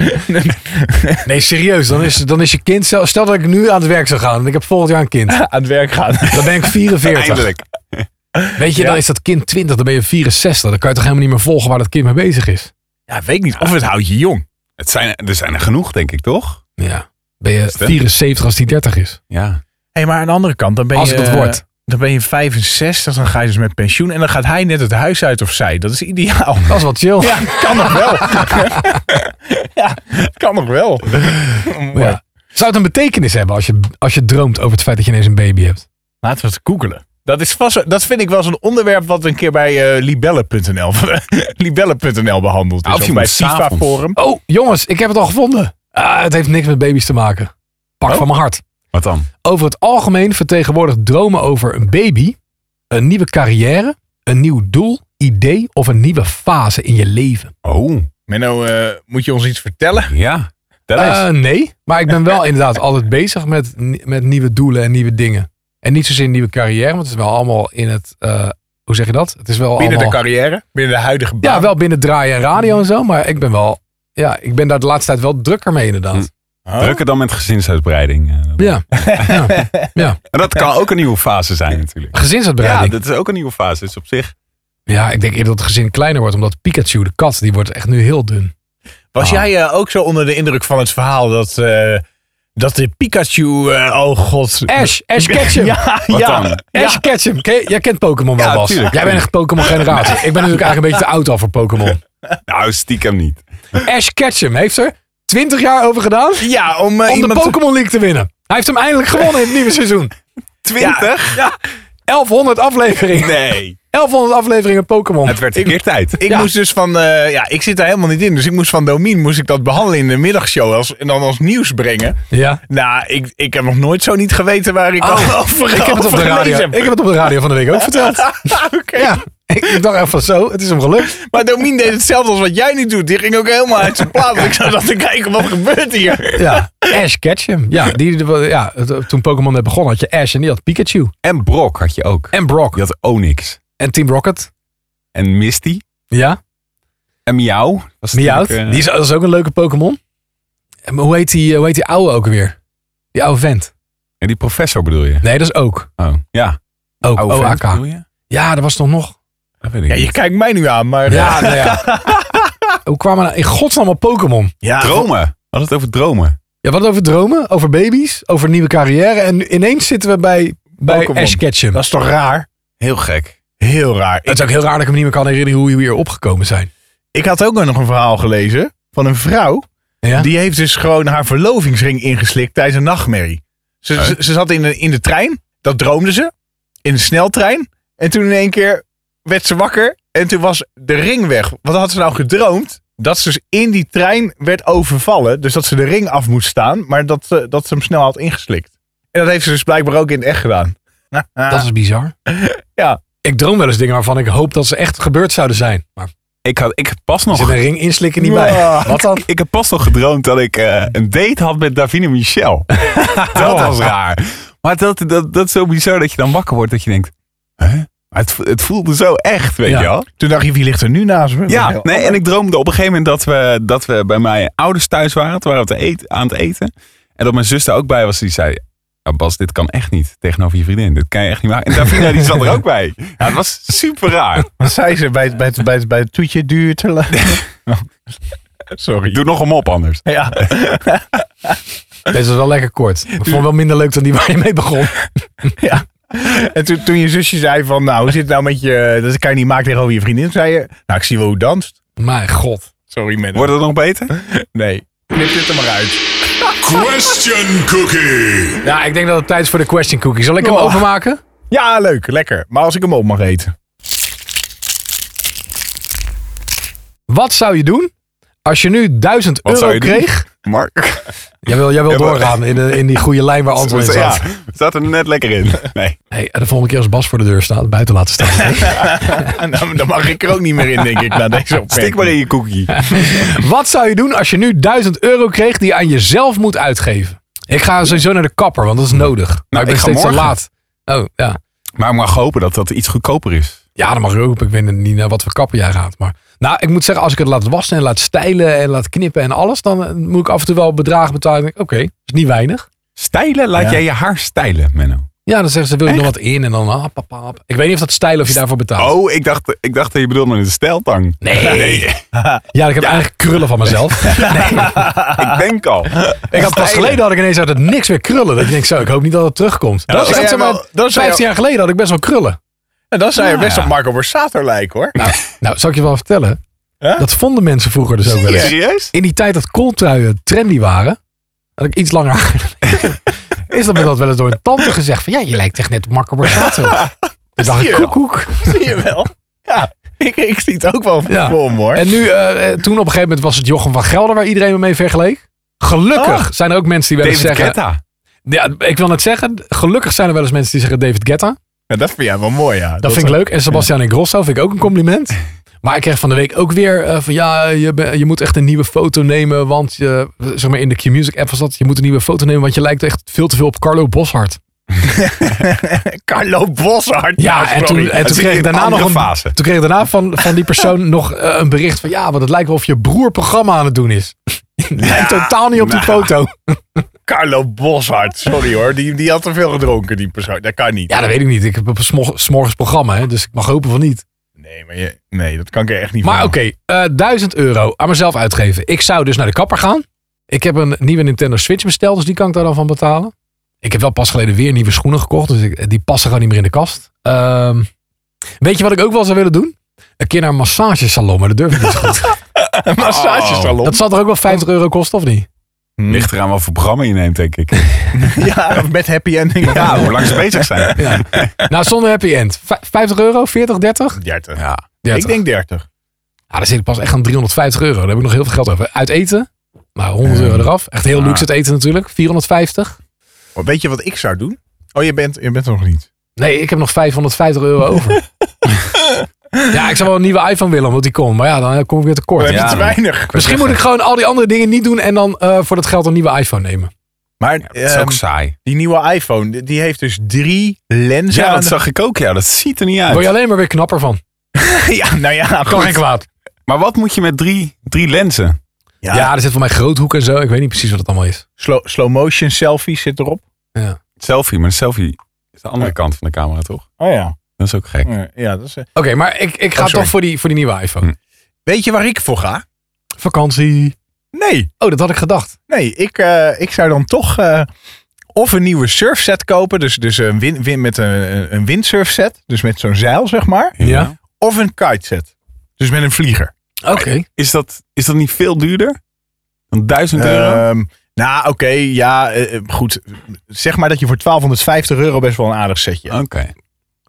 Speaker 1: Nee, serieus, dan is, dan is je kind, zo- stel dat ik nu aan het werk zou gaan en ik heb volgend jaar een kind.
Speaker 2: Aan het werk gaan.
Speaker 1: Dan
Speaker 2: [laughs]
Speaker 1: ben ik 44.
Speaker 4: Eindelijk.
Speaker 1: Weet je,
Speaker 2: Ja.
Speaker 1: dan is dat kind 20, dan ben je 64. Dan kan je toch helemaal niet meer volgen waar dat kind mee bezig is.
Speaker 2: Ja, weet ik niet. Of het houdt je jong.
Speaker 4: Het zijn, er zijn er genoeg, denk ik, toch?
Speaker 1: Ja. Ben je
Speaker 4: het, hè?
Speaker 1: 74 als die 30 is.
Speaker 4: Ja.
Speaker 2: Hé, maar aan de andere kant, dan ben
Speaker 1: Als
Speaker 2: je...
Speaker 1: ik dat word.
Speaker 2: Dan ben je 65, dan ga je dus met pensioen. En dan gaat hij net het huis uit of zij. Dat is ideaal. [laughs]
Speaker 1: Dat is wel chill.
Speaker 2: Ja, kan nog wel. [laughs] ja, kan nog wel.
Speaker 1: Ja. Zou het een betekenis hebben als je, als je droomt over het feit dat je ineens een baby hebt?
Speaker 2: Laten we het googelen. Dat, is vast, dat vind ik wel zo'n onderwerp wat een keer bij eh [laughs] libelle.nl libelle.nl behandeld is.
Speaker 4: Of je
Speaker 2: Of
Speaker 4: moet
Speaker 2: bij
Speaker 4: s'avonds.
Speaker 2: FIFA Forum.
Speaker 1: Oh, jongens, ik heb het al gevonden. Ah, het heeft niks met baby's te maken. Pak van mijn hart.
Speaker 4: Wat dan?
Speaker 1: Over het algemeen vertegenwoordigt dromen over een baby een nieuwe carrière, een nieuw doel, idee of een nieuwe fase in je leven.
Speaker 4: Oh,
Speaker 2: Menno, eh, moet je ons iets vertellen?
Speaker 4: ja. Dat is.
Speaker 1: Eh, nee, maar ik ben
Speaker 2: [laughs]
Speaker 1: wel inderdaad altijd bezig met, ni- met nieuwe doelen en nieuwe dingen. En niet zozeer een nieuwe carrière, want het is wel allemaal in het, eh, hoe zeg je dat? Het is wel
Speaker 2: Binnen de
Speaker 1: allemaal,
Speaker 2: carrière? Binnen de huidige baan?
Speaker 1: Oh. Ja, wel binnen draaien en radio en zo, maar ik ben wel, ja, ik ben daar de laatste tijd wel drukker mee inderdaad.
Speaker 2: Oh.
Speaker 4: Drukker dan met gezinsuitbreiding. eh, dat-
Speaker 1: Ja. ja,
Speaker 2: [laughs]
Speaker 1: ja.
Speaker 4: En dat kan ook een nieuwe fase zijn natuurlijk. Ja,
Speaker 1: Gezinsuitbreiding. Ja,
Speaker 4: dat is ook een nieuwe fase. Dat is op zich.
Speaker 1: ik denk eerder dat het gezin kleiner wordt, omdat Pikachu, de kat, die wordt echt nu heel dun. Ah.
Speaker 2: Was jij eh, ook zo onder de indruk van het verhaal dat, eh, dat de Pikachu, eh, oh god.
Speaker 1: Ash, Ash Ketchum.
Speaker 2: [laughs] Ja,
Speaker 4: Wat
Speaker 2: ja.
Speaker 4: dan?
Speaker 1: Ash Ketchum. Ken je- Jij kent Pokémon wel,
Speaker 4: Ja,
Speaker 1: Bas.
Speaker 4: tuurlijk.
Speaker 1: Jij bent echt Pokémon-generatie. Ik ben natuurlijk eigenlijk een beetje te oud al voor Pokémon.
Speaker 4: Nou, stiekem niet.
Speaker 1: Ash Ketchum heeft er 20 jaar over gedaan.
Speaker 2: Ja, om, eh,
Speaker 1: om de
Speaker 2: iemand...
Speaker 1: Pokémon League te winnen. Hij heeft hem eindelijk gewonnen in het nieuwe seizoen.
Speaker 2: Ja,
Speaker 4: Twintig?
Speaker 2: ja.
Speaker 1: 1100 afleveringen.
Speaker 4: Nee.
Speaker 1: 1100 afleveringen Pokémon.
Speaker 4: Het werd een keer tijd.
Speaker 2: Ik
Speaker 1: Ja.
Speaker 2: moest dus van, eh, ja, ik zit daar helemaal niet in. Dus ik moest van Domien moest ik dat behandelen in de middagshow als, en dan als nieuws brengen.
Speaker 1: Ja.
Speaker 2: Nou, ik, ik heb nog nooit zo niet geweten waar ik al over
Speaker 1: Oh, [laughs] Ik heb, het op de radio, ik heb het op de radio van de week ook
Speaker 4: [laughs]
Speaker 1: verteld. Ja, ik, ik dacht echt van zo, het is hem gelukt.
Speaker 2: Maar Domien deed hetzelfde als wat jij nu doet. Die ging ook helemaal uit zijn plaat. Ik zat dan te kijken, wat gebeurt hier?
Speaker 1: Ja, Ash Ketchum. Ja, die, die- ja, het- toen Pokémon net begon had je Ash en die had Pikachu.
Speaker 4: En Brock had je ook.
Speaker 1: En Brock.
Speaker 4: Je had Onyx.
Speaker 1: En Team Rocket.
Speaker 4: En Misty.
Speaker 1: Ja,
Speaker 4: En Miauw. Was
Speaker 1: Meowth.
Speaker 4: natuurlijk, eh,
Speaker 1: Die is, dat is ook een leuke Pokémon. En Hoe heet, die, hoe heet die oude ook weer? Die oude vent.
Speaker 4: en die professor bedoel je?
Speaker 1: Nee, dat is ook.
Speaker 4: Oh. Ja.
Speaker 1: Ook,
Speaker 4: Oude vent
Speaker 1: OAK.
Speaker 4: bedoel je?
Speaker 1: Ja, dat was toch nog.
Speaker 4: Dat weet ik
Speaker 2: Ja,
Speaker 4: niet.
Speaker 2: je kijkt mij nu aan, maar... eh,
Speaker 1: Ja, nou
Speaker 2: [laughs]
Speaker 1: ja. Hoe kwamen we nou in godsnaam op Pokémon?
Speaker 2: Ja,
Speaker 4: Dromen. We hadden het over dromen.
Speaker 1: Ja, wat over dromen, over baby's, over nieuwe carrière. En nu ineens zitten we bij, bij
Speaker 2: Pokémon.
Speaker 1: Ash Ketchum.
Speaker 2: Dat is toch raar?
Speaker 4: Heel gek.
Speaker 2: Heel raar.
Speaker 1: Het
Speaker 2: Ik,
Speaker 1: is ook heel raar dat ik me niet meer kan herinneren hoe we hier opgekomen zijn.
Speaker 2: ik had ook nog een verhaal gelezen van een vrouw.
Speaker 1: Ja?
Speaker 2: Die heeft dus gewoon haar verlovingsring ingeslikt tijdens een nachtmerrie. Ze,
Speaker 4: Oh.
Speaker 2: ze, ze zat in de, in de trein, dat droomde ze, in de sneltrein. En toen in één keer werd ze wakker en toen was de ring weg. Wat had ze nou gedroomd? Dat ze dus in die trein werd overvallen. Dus dat ze de ring af moest staan, maar dat, ze- dat ze hem snel had ingeslikt. En dat heeft ze dus blijkbaar ook in het echt gedaan.
Speaker 1: [laughs] dat is bizar.
Speaker 2: Ja.
Speaker 1: Ik droom wel eens dingen waarvan ik hoop dat ze echt gebeurd zouden zijn. Maar
Speaker 4: Ik had ik had pas
Speaker 1: er
Speaker 4: nog...
Speaker 1: zit een ring inslikken niet
Speaker 2: Ja.
Speaker 1: bij. Wat
Speaker 2: [laughs]
Speaker 1: dan?
Speaker 4: Ik heb pas nog gedroomd dat ik eh, een date had met
Speaker 1: [laughs]
Speaker 4: Davine Michel. dat was raar. Maar dat, dat, dat is zo bizar dat je dan wakker wordt dat je denkt... Hè? Maar Het, vo- het voelde zo echt, weet
Speaker 1: Ja.
Speaker 4: je wel?
Speaker 2: Toen dacht je, wie ligt er nu naast me?
Speaker 4: Ja, nee, en ik droomde op een gegeven moment dat we, dat we bij mijn ouders thuis waren. Toen waren we te eten- aan het eten. En dat mijn zus daar ook bij was. Die zei, "Ah, Bas, dit kan echt niet tegenover je vriendin. Dit kan je echt niet maken. En Davina die zat er ook bij. Ja, het was super raar.
Speaker 2: [laughs] Wat zei ze bij, het- bij, het- bij, het- bij het toetje duur te lang?
Speaker 1: [laughs]
Speaker 2: Sorry.
Speaker 4: Doe nog hem op anders.
Speaker 2: Ja.
Speaker 1: Deze was wel lekker kort. Ik vond het wel minder leuk dan die waar je mee
Speaker 2: [laughs]
Speaker 1: begon.
Speaker 2: Ja. En toen, toen je zusje zei van, nou, hoe zit het nou met je, dat kan je niet maken tegenover je vriendin, zei je, nou, ik zie wel hoe het danst.
Speaker 1: Mijn god.
Speaker 2: Sorry, man.
Speaker 4: Wordt het nog beter?
Speaker 2: Nee. Knip dit er maar uit.
Speaker 5: Question Cookie.
Speaker 1: Nou, ik denk dat het tijd is voor de question cookie. Zal ik hem
Speaker 2: Oh.
Speaker 1: openmaken?
Speaker 2: Ja, leuk, lekker. Maar als ik hem op mag eten. [laughs]
Speaker 1: Wat zou je doen als je nu 1000
Speaker 4: Wat zou
Speaker 1: euro
Speaker 4: je doen?
Speaker 1: kreeg?
Speaker 4: Mark.
Speaker 1: Jij wil, jij wil
Speaker 4: Ja, maar-
Speaker 1: doorgaan in, de- in die goede lijn waar Anton in zat.
Speaker 4: [laughs] Dus, Ja, staat er net lekker [laughs] in. Nee.
Speaker 1: Hey, de volgende keer als Bas voor de deur staat, buiten laten
Speaker 4: [laughs]
Speaker 1: staan.
Speaker 2: En dan, dan mag ik er ook niet meer in, denk ik, na deze opmerking.
Speaker 4: Stik maar in je cookie.
Speaker 1: Wat zou je doen als je nu 1000 euro kreeg die je aan jezelf moet uitgeven? Ik ga sowieso naar de kapper, want dat is nodig. Maar ik ben
Speaker 4: Hmm. Nou, ik ga
Speaker 1: steeds te
Speaker 4: morgen.
Speaker 1: laat. Oh, ja.
Speaker 4: Maar ik mag hopen dat dat iets goedkoper is.
Speaker 1: Ja, dat mag je ook. Ik weet niet naar wat voor kapper jij gaat. Maar nou, ik moet zeggen, als ik het laat wassen en laat stijlen en laat knippen en alles, dan eh, moet ik af en toe wel bedragen betalen. Ik denk, Oké, dat is niet weinig.
Speaker 4: Stijlen? Laat
Speaker 2: Ja.
Speaker 4: jij je haar stijlen, Menno?
Speaker 1: Ja, dan zeggen ze, wil je nog wat in? En dan, ah, pap, pap. Ik weet niet of dat stijlen of je daarvoor betaalt.
Speaker 4: Oh, ik dacht, ik dacht dat je bedoelde met een stijltang.
Speaker 1: Nee. [laughs] Ja, ik heb eigenlijk krullen van mezelf.
Speaker 4: Ik denk [laughs] al.
Speaker 1: Ik had pas
Speaker 4: Stijlen.
Speaker 1: geleden had ik ineens uit het niks weer krullen. Dat je denkt, zo, ik hoop niet dat het terugkomt.
Speaker 2: dat
Speaker 1: dat is
Speaker 2: zou
Speaker 1: echt,
Speaker 2: jij
Speaker 1: zeg maar,
Speaker 2: wel- dat zou
Speaker 1: 15 jaar geleden had ik best wel krullen.
Speaker 2: En dan zou je best op Marco Borsato lijken, hoor.
Speaker 1: Nou, nou zal ik je wel vertellen.
Speaker 2: Huh?
Speaker 1: Dat vonden mensen vroeger dus ook wel
Speaker 2: Nou,
Speaker 1: eens.
Speaker 2: [laughs]
Speaker 4: Serieus?
Speaker 1: In die tijd dat kooltruien trendy waren, had ik iets langer haar. is dat me dat wel eens door een tante gezegd van, ja, je lijkt echt net op Marco Borsato. Toen dacht ik,
Speaker 2: Zie je wel.
Speaker 1: koek, koek.
Speaker 2: Zie je wel? Ja, ik, ik zie het ook wel voor
Speaker 1: Ja.
Speaker 2: me, hoor.
Speaker 1: En nu, eh, eh, toen op een gegeven moment was het Jochem van Gelder waar iedereen me mee vergeleek. Gelukkig zijn er ook mensen die wel eens
Speaker 4: David
Speaker 1: zeggen...
Speaker 4: Guetta.
Speaker 1: Ja, ik wil net zeggen, gelukkig zijn er wel eens mensen die zeggen David Guetta.
Speaker 2: Ja, dat vind jij wel mooi, ja.
Speaker 1: Dat vind ik leuk. En Sebastian Ingrosso vind ik ook een compliment. Maar ik kreeg van de week ook weer eh, van ja, je, ben- je moet echt een nieuwe foto nemen. Want je, zeg maar in de Q-Music app was dat, je moet een nieuwe foto nemen. Want je lijkt echt veel te veel op Carlo Boshart.
Speaker 2: Carlo Boshart.
Speaker 1: Ja, en toen, en
Speaker 4: Het
Speaker 1: toen
Speaker 4: zit
Speaker 1: kreeg
Speaker 4: in
Speaker 1: ik
Speaker 4: een
Speaker 1: daarna nog
Speaker 4: andere
Speaker 1: een,
Speaker 4: fase.
Speaker 1: Toen kreeg ik daarna van, van die persoon nog eh, een bericht van ja, want het lijkt wel of je broer programma aan het doen is. [laughs] Lijkt totaal niet op die foto.
Speaker 2: Carlo Boshart, sorry hoor. Die, die had te veel gedronken, die persoon. Dat kan niet.
Speaker 1: Ja, dat weet ik niet. Ik heb op s'morgens programma, hè, dus ik mag hopen van niet.
Speaker 2: Nee, maar je, nee, dat kan ik er echt niet
Speaker 1: Maar
Speaker 2: van.
Speaker 1: oké, eh 1000 euro aan mezelf uitgeven. Ik zou dus naar de kapper gaan. Ik heb een nieuwe Nintendo Switch besteld, dus die kan ik daar dan van betalen. Ik heb wel pas geleden weer nieuwe schoenen gekocht, dus ik- die passen gewoon niet meer in de kast. Ehm, weet je wat ik ook wel zou willen doen? Een keer naar een massagesalon, maar dat durf ik niet zo goed.
Speaker 2: Een [laughs] massagesalon.
Speaker 1: Dat zal toch ook wel 50 euro kosten, of niet?
Speaker 4: Ligt eraan wat voor programma je neemt, denk ik.
Speaker 2: Ja, met happy ending.
Speaker 4: [laughs] Ja, hoe lang ze bezig zijn.
Speaker 1: Ja. nou, zonder happy end. Vij- 50 euro? 40? 30?
Speaker 2: 30.
Speaker 4: Ja.
Speaker 1: 30.
Speaker 2: Ik denk 30
Speaker 1: Ja, Ah, daar zit ik pas echt aan 350 euro. Daar heb ik nog heel veel geld over. Uit eten? Nou, 100 euro eraf. Echt heel luxe het eten natuurlijk. 450.
Speaker 2: Maar Oh, Weet je wat ik zou doen? Oh, je bent, je bent er nog niet.
Speaker 1: Nee, ik heb nog 550 euro over. ja, ik zou wel een nieuwe iPhone willen, omdat die kon. Maar ja, dan eh, kom ik weer
Speaker 2: We
Speaker 1: tekort.
Speaker 2: hebben
Speaker 4: Ja,
Speaker 2: te
Speaker 4: maar-
Speaker 2: weinig.
Speaker 1: Misschien moet ik gewoon al die andere dingen niet doen en dan eh, voor dat geld een nieuwe iPhone nemen.
Speaker 2: Maar
Speaker 4: Dat is ook
Speaker 2: ehm,
Speaker 4: saai.
Speaker 2: die nieuwe iPhone, die- die heeft dus drie lenzen.
Speaker 4: Ja, nou.
Speaker 2: aan
Speaker 4: dat
Speaker 2: de-
Speaker 4: zag ik ook. Ja, dat ziet er niet
Speaker 1: Word je
Speaker 4: uit.
Speaker 1: alleen maar weer knapper van.
Speaker 2: ja [laughs] nou ja,
Speaker 1: Kan
Speaker 2: goed.
Speaker 1: geen kwaad.
Speaker 4: Maar wat moet je met drie, drie lenzen?
Speaker 2: Ja,
Speaker 1: Ja. er zit voor mij groothoek en zo. Ik weet niet precies wat het allemaal is.
Speaker 2: Slow, slow motion selfies zit erop.
Speaker 1: Ja.
Speaker 4: Selfie, maar een selfie is de andere kant van de camera, toch?
Speaker 2: Oh ja.
Speaker 4: Dat is ook gek.
Speaker 2: ja dat is, eh.
Speaker 1: Oké, maar ik, ik ga
Speaker 2: sorry.
Speaker 1: toch voor die, voor die nieuwe iPhone.
Speaker 4: Hm.
Speaker 2: Weet je waar ik voor ga?
Speaker 1: Vakantie.
Speaker 2: Nee,
Speaker 1: Oh, dat had ik gedacht.
Speaker 2: nee. Ik, eh, ik zou dan toch eh, of een nieuwe surfset kopen. Dus, dus een, win, win, met een, een windsurfset. Dus met zo'n zeil, zeg maar.
Speaker 1: Ja.
Speaker 2: Of een kiteset. Dus met een vlieger.
Speaker 1: Oké.
Speaker 4: Is dat, is dat niet veel duurder? Dan 1000 euro?
Speaker 2: Ehm, nou, oké, ja, eh, eh, goed. Zeg maar dat je voor 1250 euro best wel een aardig setje
Speaker 4: Oké.
Speaker 2: hebt.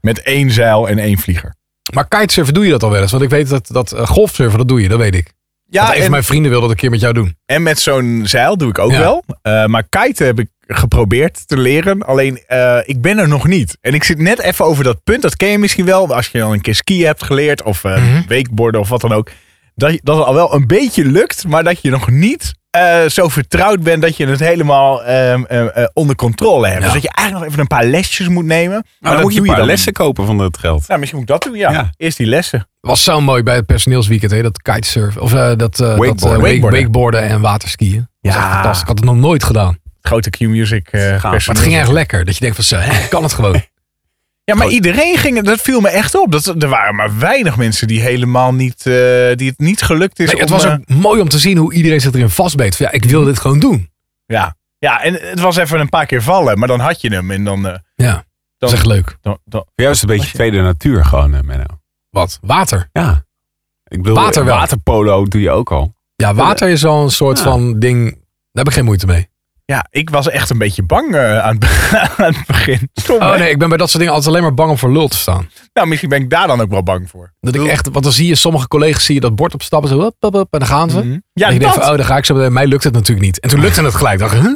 Speaker 2: Met één zeil en één vlieger.
Speaker 1: Maar kitesurfen doe je dat al wel eens? Want ik weet dat, dat eh, golfsurfen, dat doe je, dat weet ik.
Speaker 2: Ja,
Speaker 1: dat een van
Speaker 2: en,
Speaker 1: mijn vrienden wil dat een keer met jou doen.
Speaker 2: en met zo'n zeil doe ik ook
Speaker 1: Ja.
Speaker 2: wel. Eh, maar kiten heb ik geprobeerd te leren. Alleen, eh, ik ben er nog niet. En ik zit net even over dat punt. Dat ken je misschien wel. Als je dan een keer skiën hebt geleerd. Of eh
Speaker 4: Mhm.
Speaker 2: wakeboarden of wat dan ook. Dat, je- dat het al wel een beetje lukt. Maar dat je nog niet eh, zo vertrouwd bent. Dat je het helemaal ehm, eh, eh, onder controle hebt. Dus dat je eigenlijk nog even een paar lesjes moet nemen. Maar
Speaker 4: Maar Nou, dan
Speaker 2: Nou, dat
Speaker 4: moet je
Speaker 2: doe
Speaker 4: een paar
Speaker 2: dan
Speaker 4: lessen kopen van dat geld.
Speaker 2: Nou, misschien moet ik dat doen, ja.
Speaker 4: Ja.
Speaker 2: Eerst die lessen.
Speaker 1: Was zo mooi bij het personeelsweekend, hè? dat kitesurfen. Of eh, dat, eh, dat eh,
Speaker 4: Wakeboarden.
Speaker 1: wake-
Speaker 2: Wakeboarden.
Speaker 1: wakeboarden en waterskiën. Dat was
Speaker 2: Ja.
Speaker 1: echt fantastisch. Ik had het nog nooit gedaan.
Speaker 2: Het grote Q-music. eh,
Speaker 4: maar
Speaker 1: Maar
Speaker 2: personeel.
Speaker 1: het ging echt lekker. Dat je denkt van zo, hè, ik kan het gewoon.
Speaker 2: Ja, maar iedereen ging, dat viel me echt op. Dat, er waren maar weinig mensen die helemaal niet, eh, die het niet gelukt is.
Speaker 1: Nee, het
Speaker 2: om,
Speaker 1: was
Speaker 2: eh,
Speaker 1: ook mooi om te zien hoe iedereen zich erin vastbeet. Van, ja, ik wil dit gewoon doen.
Speaker 2: ja. ja, en het was even een paar keer vallen, maar dan had je hem. En dan, eh,
Speaker 1: Ja, dat
Speaker 2: dan,
Speaker 1: is echt leuk.
Speaker 2: dan, dan-
Speaker 4: Voor jou is het een beetje tweede natuur gewoon, hè, Menno.
Speaker 1: Wat? Water.
Speaker 4: Ja. Ik bedoel,
Speaker 1: Water wel.
Speaker 4: waterpolo doe je ook al.
Speaker 1: Ja, water is al een soort
Speaker 4: Ja.
Speaker 1: van ding. Daar heb ik geen moeite mee.
Speaker 2: ja, ik was echt een beetje bang eh, aan, het, be- [laughs] aan het begin. Stom,
Speaker 1: Oh
Speaker 2: hè?
Speaker 1: nee, ik ben bij dat soort dingen altijd alleen maar bang om voor lul te staan.
Speaker 2: Nou, misschien ben ik daar dan ook wel bang voor.
Speaker 1: Dat ik echt, want dan zie je sommige collega's zie je dat bord opstappen. Zo, hup, hup, hup, en dan gaan ze.
Speaker 2: Ja,
Speaker 1: en ik
Speaker 2: dat.
Speaker 1: denk van, oh, dan ga ik zo meteen. Mij lukt het natuurlijk niet. En toen lukte het gelijk. Dacht, ik, huh?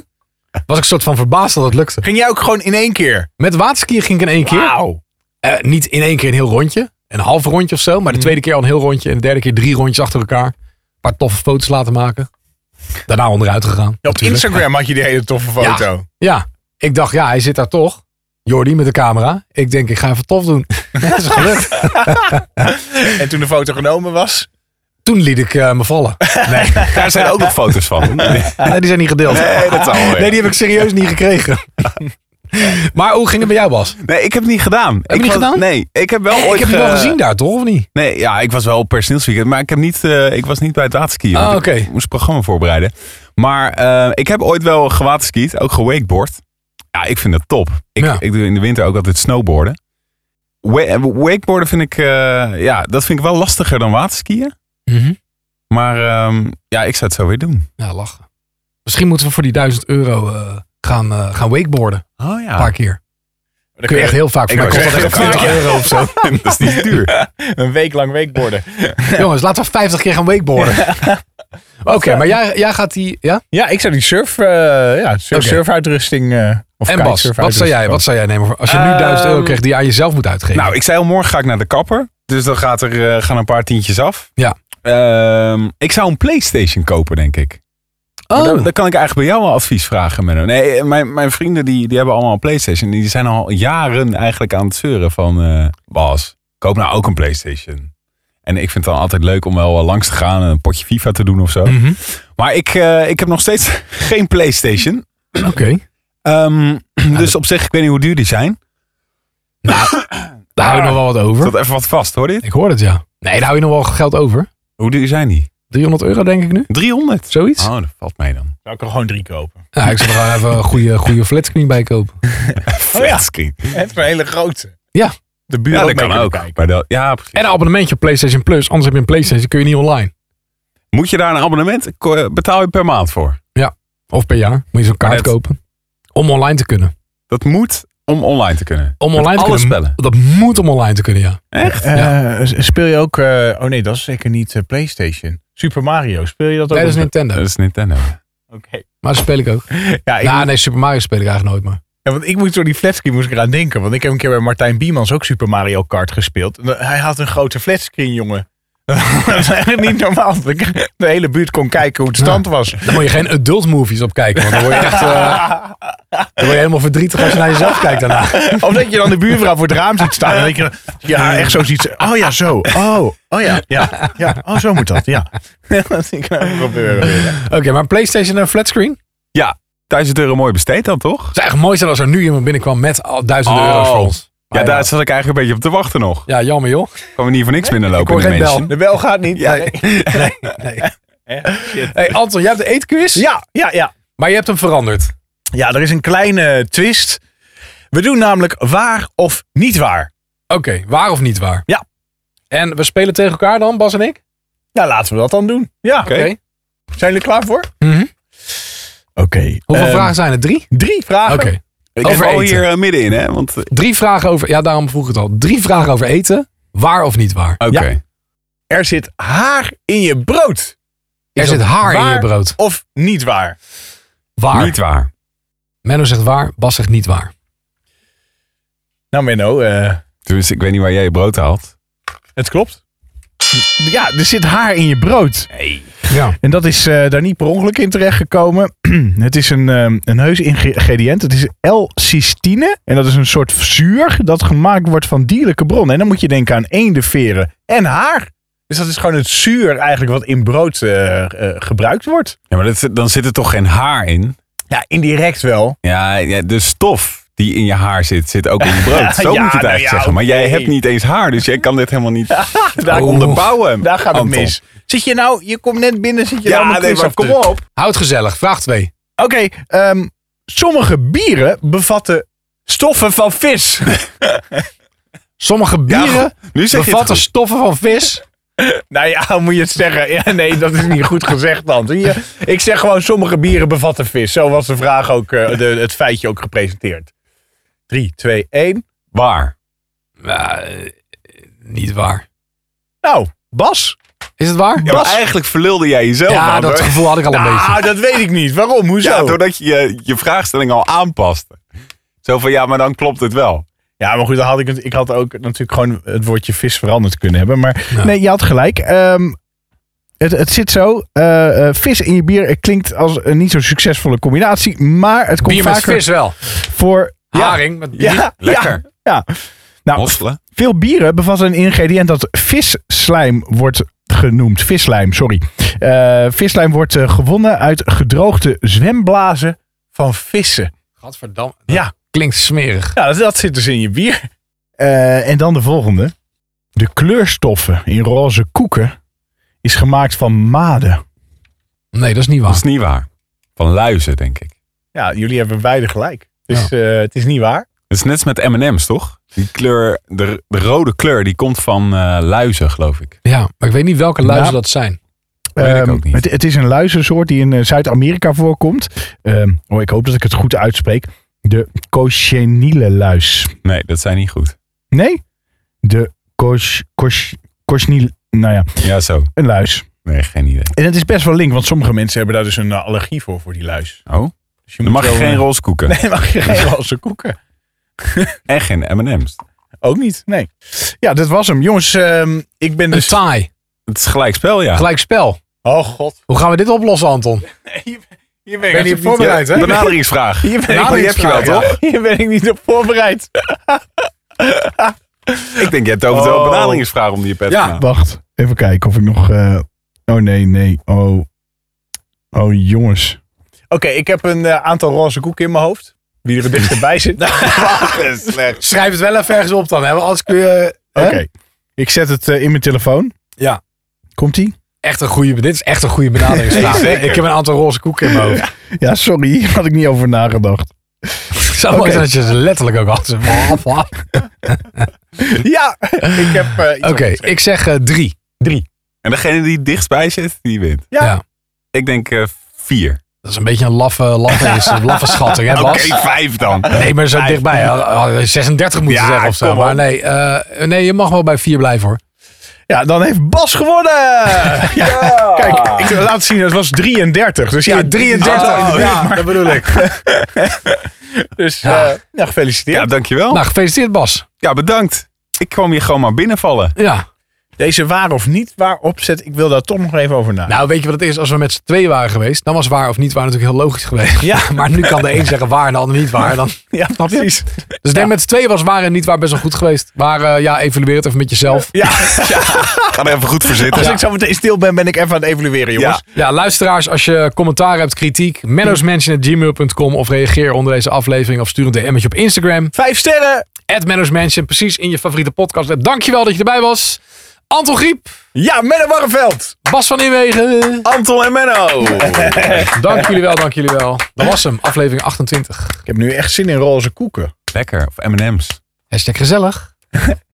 Speaker 1: Was ik een soort van verbaasd dat het lukte.
Speaker 2: Ging jij ook gewoon in één keer?
Speaker 1: Met waterskiën ging ik in één keer.
Speaker 2: Wauw.
Speaker 1: Eh, niet in één keer een heel rondje. Een half rondje of zo.
Speaker 2: Mhm.
Speaker 1: Maar de tweede keer al een heel rondje. En de derde keer drie rondjes achter elkaar. Een paar toffe foto's laten maken. Daarna onderuit gegaan.
Speaker 2: Ja, op
Speaker 1: natuurlijk.
Speaker 2: Instagram had je die hele toffe foto.
Speaker 1: Ja, ik dacht, ja, hij zit daar toch. Jordi met de camera. Ik denk, ik ga even tof
Speaker 2: [laughs]
Speaker 1: doen. Dat is gelukt.
Speaker 2: En toen de foto genomen was.
Speaker 1: Toen liet ik eh, me vallen. Nee,
Speaker 4: Daar zijn ook nog foto's van.
Speaker 1: nee, die zijn niet gedeeld.
Speaker 4: Nee, dat zal wel weer.
Speaker 1: Nee, die heb ik serieus niet
Speaker 2: [laughs]
Speaker 1: gekregen. Maar hoe ging het bij jou, Bas?
Speaker 4: Nee, ik heb het niet gedaan. ik
Speaker 1: je niet
Speaker 4: was-
Speaker 1: gedaan?
Speaker 4: Nee, ik heb wel ooit
Speaker 1: Ik heb je wel
Speaker 4: ge-
Speaker 1: gezien daar, toch? Of niet?
Speaker 4: Nee, ja, ik was wel op personeelsweekend, maar ik, heb niet, eh, ik was niet bij het waterskiën. want
Speaker 1: Ah,
Speaker 4: ik
Speaker 1: oké.
Speaker 4: moest het programma voorbereiden. Maar eh, ik heb ooit wel gewaterskied, ook gewakeboard. Ja, ik vind dat top. Ik,
Speaker 1: Ja.
Speaker 4: ik doe in de winter ook altijd snowboarden. Wa- wakeboarden vind ik, eh, ja, dat vind ik wel lastiger dan waterskiën.
Speaker 1: Mhm.
Speaker 4: Maar ehm, ja, ik zou het zo weer doen.
Speaker 1: Ja, lachen. Misschien moeten we voor die 1000 euro eh, gaan, eh, gaan wakeboarden.
Speaker 4: Oh ja.
Speaker 1: Een paar keer.
Speaker 2: Dan
Speaker 1: Ah. Kun je echt heel vaak.
Speaker 4: Ik
Speaker 1: Voor mij
Speaker 4: wou
Speaker 1: kost dat echt
Speaker 4: zeggen,
Speaker 1: 20 euro of zo.
Speaker 4: [laughs] dat is niet
Speaker 1: [laughs]
Speaker 4: duur.
Speaker 2: een week lang weekborden.
Speaker 1: Jongens, laten we 50 keer gaan wakeboarden. [laughs] Oké,
Speaker 2: eh,
Speaker 1: maar jij, jij gaat die... Ja?
Speaker 2: Ja, ik zou die surf, eh, ja, sur-
Speaker 1: Oké.
Speaker 2: surfuitrusting eh, of
Speaker 1: En Bas, dus
Speaker 2: kitesurfuitrusting
Speaker 1: wat zou, jij, wat zou jij nemen voor, als je nu
Speaker 4: Ehm,
Speaker 1: 1000 euro krijgt die je aan jezelf moet uitgeven?
Speaker 4: Nou, ik zei al, morgen ga ik naar de kapper. Dus dan gaat er, eh, gaan een paar tientjes af.
Speaker 1: Ja.
Speaker 4: Ehm, ik zou een Playstation kopen, denk ik.
Speaker 1: Oh,
Speaker 4: Maar Dan, dan kan ik eigenlijk bij jou wel advies vragen, Menno. Nee, eh, mijn, mijn vrienden die, die hebben allemaal een Playstation. Die zijn al jaren eigenlijk aan het zeuren van... eh, Bas, koop nou ook een Playstation. En ik vind het dan altijd leuk om wel eh, langs te gaan en een potje FIFA te doen of zo.
Speaker 1: Mhm.
Speaker 4: Maar ik, eh, ik heb nog steeds [laughs] geen Playstation.
Speaker 1: Oké.
Speaker 4: Ehm, dus op zich, ik weet niet hoe duur die zijn.
Speaker 1: Daar hou je nog wel wat over.
Speaker 4: Tot even wat vast, hoor dit.
Speaker 1: Ik hoor het, ja. Nee, daar hou je nog wel geld over.
Speaker 4: Hoe duur zijn die?
Speaker 1: 300 euro denk ik nu,
Speaker 4: 300.
Speaker 1: zoiets.
Speaker 4: Oh, dat valt mij dan.
Speaker 2: Zou ik er gewoon drie [laughs] kopen.
Speaker 1: Nou, ik zal er wel even een goede, goede flatscreen bij kopen.
Speaker 4: Flatscreen.
Speaker 2: Het is een hele grote.
Speaker 1: Ja.
Speaker 2: De buur
Speaker 4: Ja,
Speaker 2: ook mee
Speaker 4: dat kan
Speaker 2: kunnen
Speaker 4: ook.
Speaker 2: kijken.
Speaker 4: Maar dat, ja, precies.
Speaker 1: En een abonnementje op PlayStation Plus. Anders heb je een PlayStation, kun je niet online.
Speaker 4: eh, Moet je daar een abonnement? ko- Betaal je per maand voor?
Speaker 1: Ja. Of per jaar. Moet je zo'n kaart
Speaker 4: net-
Speaker 1: kopen. Om online te kunnen.
Speaker 4: Dat moet om online te kunnen.
Speaker 1: Om
Speaker 4: Met
Speaker 1: online te
Speaker 4: alle
Speaker 1: kunnen.
Speaker 4: spellen.
Speaker 1: Dat moet om online te kunnen, ja.
Speaker 4: Echt?
Speaker 2: Eh, s- Speel je ook... eh, oh nee, dat is zeker niet eh, PlayStation. Super Mario, speel je dat ook?
Speaker 1: Nee, dat is
Speaker 2: op-
Speaker 1: Nintendo.
Speaker 4: Dat is Nintendo.
Speaker 2: Oké.
Speaker 1: Maar dat speel ik ook.
Speaker 2: [laughs] Ja, ik
Speaker 1: Ja,
Speaker 2: moet-
Speaker 1: nee, Super Mario speel ik eigenlijk nooit, maar...
Speaker 2: Ja, want ik moest door die flatscreen moest ik eraan denken. Want ik heb een keer bij Martijn Biemans ook Super Mario Kart gespeeld. En, eh, Hij had een grote flatscreen, jongen. [laughs] dat is eigenlijk niet normaal. Dat ik De hele buurt kon kijken hoe het stand was.
Speaker 1: Daar moet je geen adult movies op kijken, want dan word je echt... eh, dan word je helemaal verdrietig als je naar jezelf kijkt daarna.
Speaker 4: [laughs]
Speaker 2: Of dat je dan de buurvrouw voor het raam ziet staan. En dat je dan- ja, echt zo ziet. ze- Oh ja, zo. Oh, oh ja, ja, ja. Oh, zo moet dat, ja. [laughs] dat zie ik nou gebeuren. weer.
Speaker 1: Oké, maar een Playstation en een flatscreen?
Speaker 4: Ja, 1000 euro mooi besteed dan toch?
Speaker 1: Het zou echt mooi zijn als er nu iemand binnenkwam met al duizenden
Speaker 4: Oh.
Speaker 1: euro's voor ons. Maar
Speaker 4: Ja, daar zat ik eigenlijk een beetje op te wachten nog.
Speaker 1: Ja, jammer joh.
Speaker 4: Kan we niet voor niks
Speaker 1: Ik
Speaker 4: binnenlopen
Speaker 1: hoor
Speaker 4: in de
Speaker 1: geen
Speaker 4: mensen.
Speaker 2: De bel gaat [laughs] niet.
Speaker 4: Ja,
Speaker 1: Hey Anton, jij hebt de eetquiz?
Speaker 2: Ja, ja, ja.
Speaker 1: Maar je hebt hem veranderd.
Speaker 2: Ja, er is een kleine twist. We doen namelijk waar of niet waar.
Speaker 1: Oké, waar of niet waar?
Speaker 2: Ja.
Speaker 1: En we spelen tegen elkaar dan, Bas en ik?
Speaker 2: Nou, laten we dat dan doen. Ja.
Speaker 4: Oké.
Speaker 2: Zijn jullie er klaar voor?
Speaker 1: Mhm.
Speaker 2: Oké.
Speaker 1: Hoeveel
Speaker 2: ehm,
Speaker 4: Eh.
Speaker 1: vragen zijn er? Drie?
Speaker 2: Drie vragen.
Speaker 1: Oké.
Speaker 4: ik heb
Speaker 1: Over
Speaker 4: al
Speaker 1: eten.
Speaker 4: hier eh, middenin, hè? Want, eh,
Speaker 1: Drie vragen over... Ja, daarom vroeg ik het al. Drie vragen over eten. Waar of niet waar?
Speaker 4: Oké.
Speaker 2: Er zit haar in je brood.
Speaker 1: Er
Speaker 2: Is
Speaker 1: zit
Speaker 2: dat
Speaker 1: haar in
Speaker 2: waar
Speaker 1: je brood.
Speaker 2: Of niet waar?
Speaker 1: Waar?
Speaker 4: Niet waar.
Speaker 1: Menno zegt waar, Bas zegt niet waar.
Speaker 2: Nou, Menno, eh,
Speaker 4: Tenminste, Dus ik weet niet waar jij je brood haalt.
Speaker 2: het klopt. Ja, er zit haar in je brood.
Speaker 1: Ja.
Speaker 2: En dat is eh, daar niet per ongeluk in terechtgekomen. [clears throat] het is een, ehm, een heus ingrediënt. Het is L-cystine. En dat is een soort zuur dat gemaakt wordt van dierlijke bronnen. En dan moet je denken aan eendenveren en haar. Dus dat is gewoon het zuur eigenlijk wat in brood eh, eh, gebruikt wordt.
Speaker 4: Ja, maar dat, dan zit er toch geen haar in?
Speaker 2: Ja, indirect wel.
Speaker 4: Ja, ja, de stof die in je haar zit, zit ook in je
Speaker 1: [laughs]
Speaker 4: brood. Zo
Speaker 2: Ja,
Speaker 4: moet je het
Speaker 2: nou
Speaker 4: eigenlijk
Speaker 2: ja,
Speaker 4: zeggen. Maar
Speaker 2: oké.
Speaker 4: jij hebt niet eens haar, dus jij kan dit helemaal niet
Speaker 2: [laughs] Daar,
Speaker 4: onderbouwen.
Speaker 2: daar gaat het
Speaker 4: Anton.
Speaker 2: mis. Zit je nou, je komt net binnen, zit je
Speaker 4: Ja,
Speaker 2: nou mijn
Speaker 4: nee,
Speaker 2: quiz
Speaker 4: maar
Speaker 2: af
Speaker 4: kom
Speaker 2: te-
Speaker 4: op.
Speaker 1: Houd gezellig. Vraag twee.
Speaker 2: Oké, ehm, sommige bieren bevatten stoffen van vis.
Speaker 1: Sommige bieren
Speaker 4: Ja, [laughs] nu zeg je het
Speaker 1: bevatten
Speaker 4: goed.
Speaker 1: stoffen van vis.
Speaker 2: nou ja, [laughs] hoe moet je het zeggen? Ja, nee, dat is niet goed gezegd dan. Zie je? Ik zeg gewoon, sommige bieren bevatten vis. Zo was de vraag ook, eh, de, het feitje ook gepresenteerd. 3, 2, 1.
Speaker 4: Waar?
Speaker 1: Ja, eh, niet waar.
Speaker 2: Nou, Bas?
Speaker 1: Is het waar?
Speaker 4: Ja, maar eigenlijk verlulde jij jezelf
Speaker 1: Ja,
Speaker 4: aan,
Speaker 1: dat
Speaker 4: hoor.
Speaker 1: gevoel had ik al een beetje.
Speaker 2: Nou, dat weet ik niet. Waarom? Hoezo?
Speaker 4: Ja, doordat je, je je vraagstelling al aanpaste. Zo van, ja, maar dan klopt het wel.
Speaker 2: Ja, maar goed, dan had ik, het, ik had ook natuurlijk gewoon het woordje vis veranderd kunnen hebben. Maar nee, je had gelijk. Ehm, het, het zit zo. eh, eh, vis in je bier het klinkt als een niet zo succesvolle combinatie. Maar het komt
Speaker 1: Bier met
Speaker 2: vaker
Speaker 1: vis wel.
Speaker 2: voor...
Speaker 1: Haring met bier.
Speaker 2: Ja,
Speaker 4: Lekker.
Speaker 2: Ja, ja. Nou,
Speaker 4: Mosselen.
Speaker 2: veel bieren bevatten een ingrediënt dat visslijm wordt genoemd. Vislijm, sorry. Eh vislijm wordt eh, gewonnen uit gedroogde zwemblazen van vissen.
Speaker 1: Gadverdamme.
Speaker 2: Ja.
Speaker 1: Klinkt smerig.
Speaker 2: Ja, dat, dat zit dus in je bier. Eh, en dan de volgende. De kleurstoffen in roze koeken is gemaakt van maden.
Speaker 1: Nee, dat is niet
Speaker 4: Dat
Speaker 1: waar.
Speaker 4: is niet waar. Van luizen, denk ik.
Speaker 2: Ja, jullie hebben beide gelijk. Dus eh, het is niet waar.
Speaker 4: Dat is net als met M&M's, toch? Die kleur, de, de rode kleur, die komt van eh, luizen, geloof ik.
Speaker 1: Ja, maar ik weet niet welke luizen
Speaker 2: Nou.
Speaker 1: dat zijn.
Speaker 4: Weet ik
Speaker 2: Ehm,
Speaker 4: ook niet.
Speaker 2: Het, het is een luizensoort die in eh, Zuid-Amerika voorkomt. Ehm, oh, ik hoop dat ik het goed uitspreek. De cochenile luis.
Speaker 4: Nee, dat zijn niet goed.
Speaker 2: Nee? De coch, coch, cochenile... Nou ja,
Speaker 4: Ja, zo.
Speaker 2: een luis.
Speaker 4: Nee, geen idee.
Speaker 2: En het is best wel link, want sommige mensen hebben daar dus een eh, allergie voor, voor die luis.
Speaker 4: Oh,
Speaker 2: Dus
Speaker 4: dan mag je
Speaker 2: zo-
Speaker 4: geen roze koeken.
Speaker 2: Nee, mag [laughs] je geen roze koeken.
Speaker 4: En geen M&M's.
Speaker 2: Ook niet, nee. Ja, dat was hem. Jongens, ehm, ik ben
Speaker 1: Een
Speaker 2: dus...
Speaker 1: taai.
Speaker 4: Het is gelijk spel, ja.
Speaker 1: Gelijk spel.
Speaker 2: Oh god.
Speaker 1: Hoe gaan we dit oplossen, Anton?
Speaker 2: Hier ben
Speaker 1: Ben je
Speaker 2: echt
Speaker 1: niet voorbereid, hè?
Speaker 4: Benaderingsvraag.
Speaker 2: Hier ben,
Speaker 4: Nou,
Speaker 2: ik
Speaker 4: die
Speaker 2: niet
Speaker 4: heb je wel,
Speaker 2: voorbereid.
Speaker 4: toch?
Speaker 2: [laughs] Hier ben ik niet op voorbereid.
Speaker 4: Ik denk, je hebt overal
Speaker 2: Oh.
Speaker 4: een benaderingsvraag om die pet
Speaker 1: Ja.
Speaker 4: te maken.
Speaker 2: Wacht, even kijken of ik nog... eh, Oh nee, nee. Oh, oh jongens. Oké, ik heb een eh, aantal roze koeken in mijn hoofd. Wie er het dichtst bij [laughs] zit.
Speaker 4: slecht.
Speaker 1: Schrijf het wel even ergens op dan, hè? want anders kun je...
Speaker 2: Oké, ik zet het eh, in mijn telefoon.
Speaker 1: Ja.
Speaker 2: Komt-ie?
Speaker 1: Echt een goede, dit is echt een goede benaderingsvraag.
Speaker 4: Zeker.
Speaker 1: ik heb een aantal roze koeken in mijn hoofd.
Speaker 2: Ja, sorry. [laughs] Hier had ik niet over nagedacht.
Speaker 1: Het zou mooi
Speaker 2: Oké.
Speaker 1: zijn dat je ze letterlijk ook had. Oké,
Speaker 2: Ja, ik heb... eh, iets opgeschreven.
Speaker 1: ik zeg eh, drie.
Speaker 4: En degene die dichtstbij zit, die wint.
Speaker 2: Ja.
Speaker 1: Ja.
Speaker 4: Ik denk eh, vier.
Speaker 1: Dat is een beetje een laffe, laffe, is een laffe schatting, hè
Speaker 4: Oké,
Speaker 1: Bas?
Speaker 4: vijf dan.
Speaker 1: Nee, maar zo dichtbij. Ah, ah, 36 moeten
Speaker 4: Ja,
Speaker 1: zeggen of zo.
Speaker 4: kom op.
Speaker 1: Maar nee, eh, nee, je mag wel bij 4 blijven hoor.
Speaker 2: Ja, dan heeft Bas gewonnen! [laughs] Ja. Kijk, ik laat zien, het was 33. Dus ja,
Speaker 1: 33.
Speaker 2: Oh, [laughs]
Speaker 1: Ja,
Speaker 2: dat bedoel ik. dus ja. nou, gefeliciteerd.
Speaker 4: Ja, dankjewel.
Speaker 1: Nou, gefeliciteerd Bas.
Speaker 4: Ja, bedankt. Ik kwam hier gewoon maar binnenvallen.
Speaker 1: Ja.
Speaker 2: Deze waar of niet waar opzet, ik wil daar toch nog even over na.
Speaker 1: Nou, weet je wat het is? Als we met z'n twee waren geweest, dan was waar of niet waar natuurlijk heel logisch geweest.
Speaker 2: Ja.
Speaker 1: [laughs] Maar nu kan de een zeggen waar en de ander niet waar. Dan...
Speaker 2: ja, precies.
Speaker 1: Dus ik denk met z'n twee was waar en niet waar best wel goed geweest. Maar eh, ja, evalueer het even met jezelf. [laughs]
Speaker 2: Ja,
Speaker 4: Ga er even goed voor zitten.
Speaker 2: als ik zo meteen stil ben, ben ik even aan het evalueren, jongens.
Speaker 1: Ja, luisteraars, als je commentaar hebt, kritiek, menno'smansion.gmail.com of reageer onder deze aflevering of stuur een DM'tje op Instagram.
Speaker 2: Vijf sterren!
Speaker 1: At Mansion, precies in je favoriete podcast app. Dankjewel dat je erbij was. Anton Griep,
Speaker 2: Ja, Menno Warreveld!
Speaker 1: Bas van Inwegen.
Speaker 4: Anton en Menno.
Speaker 1: Dank jullie wel, dank jullie wel. Dat was hem, aflevering 28.
Speaker 2: Ik heb nu echt zin in roze koeken.
Speaker 4: Lekker. Of M&M's.
Speaker 1: Hashtag gezellig.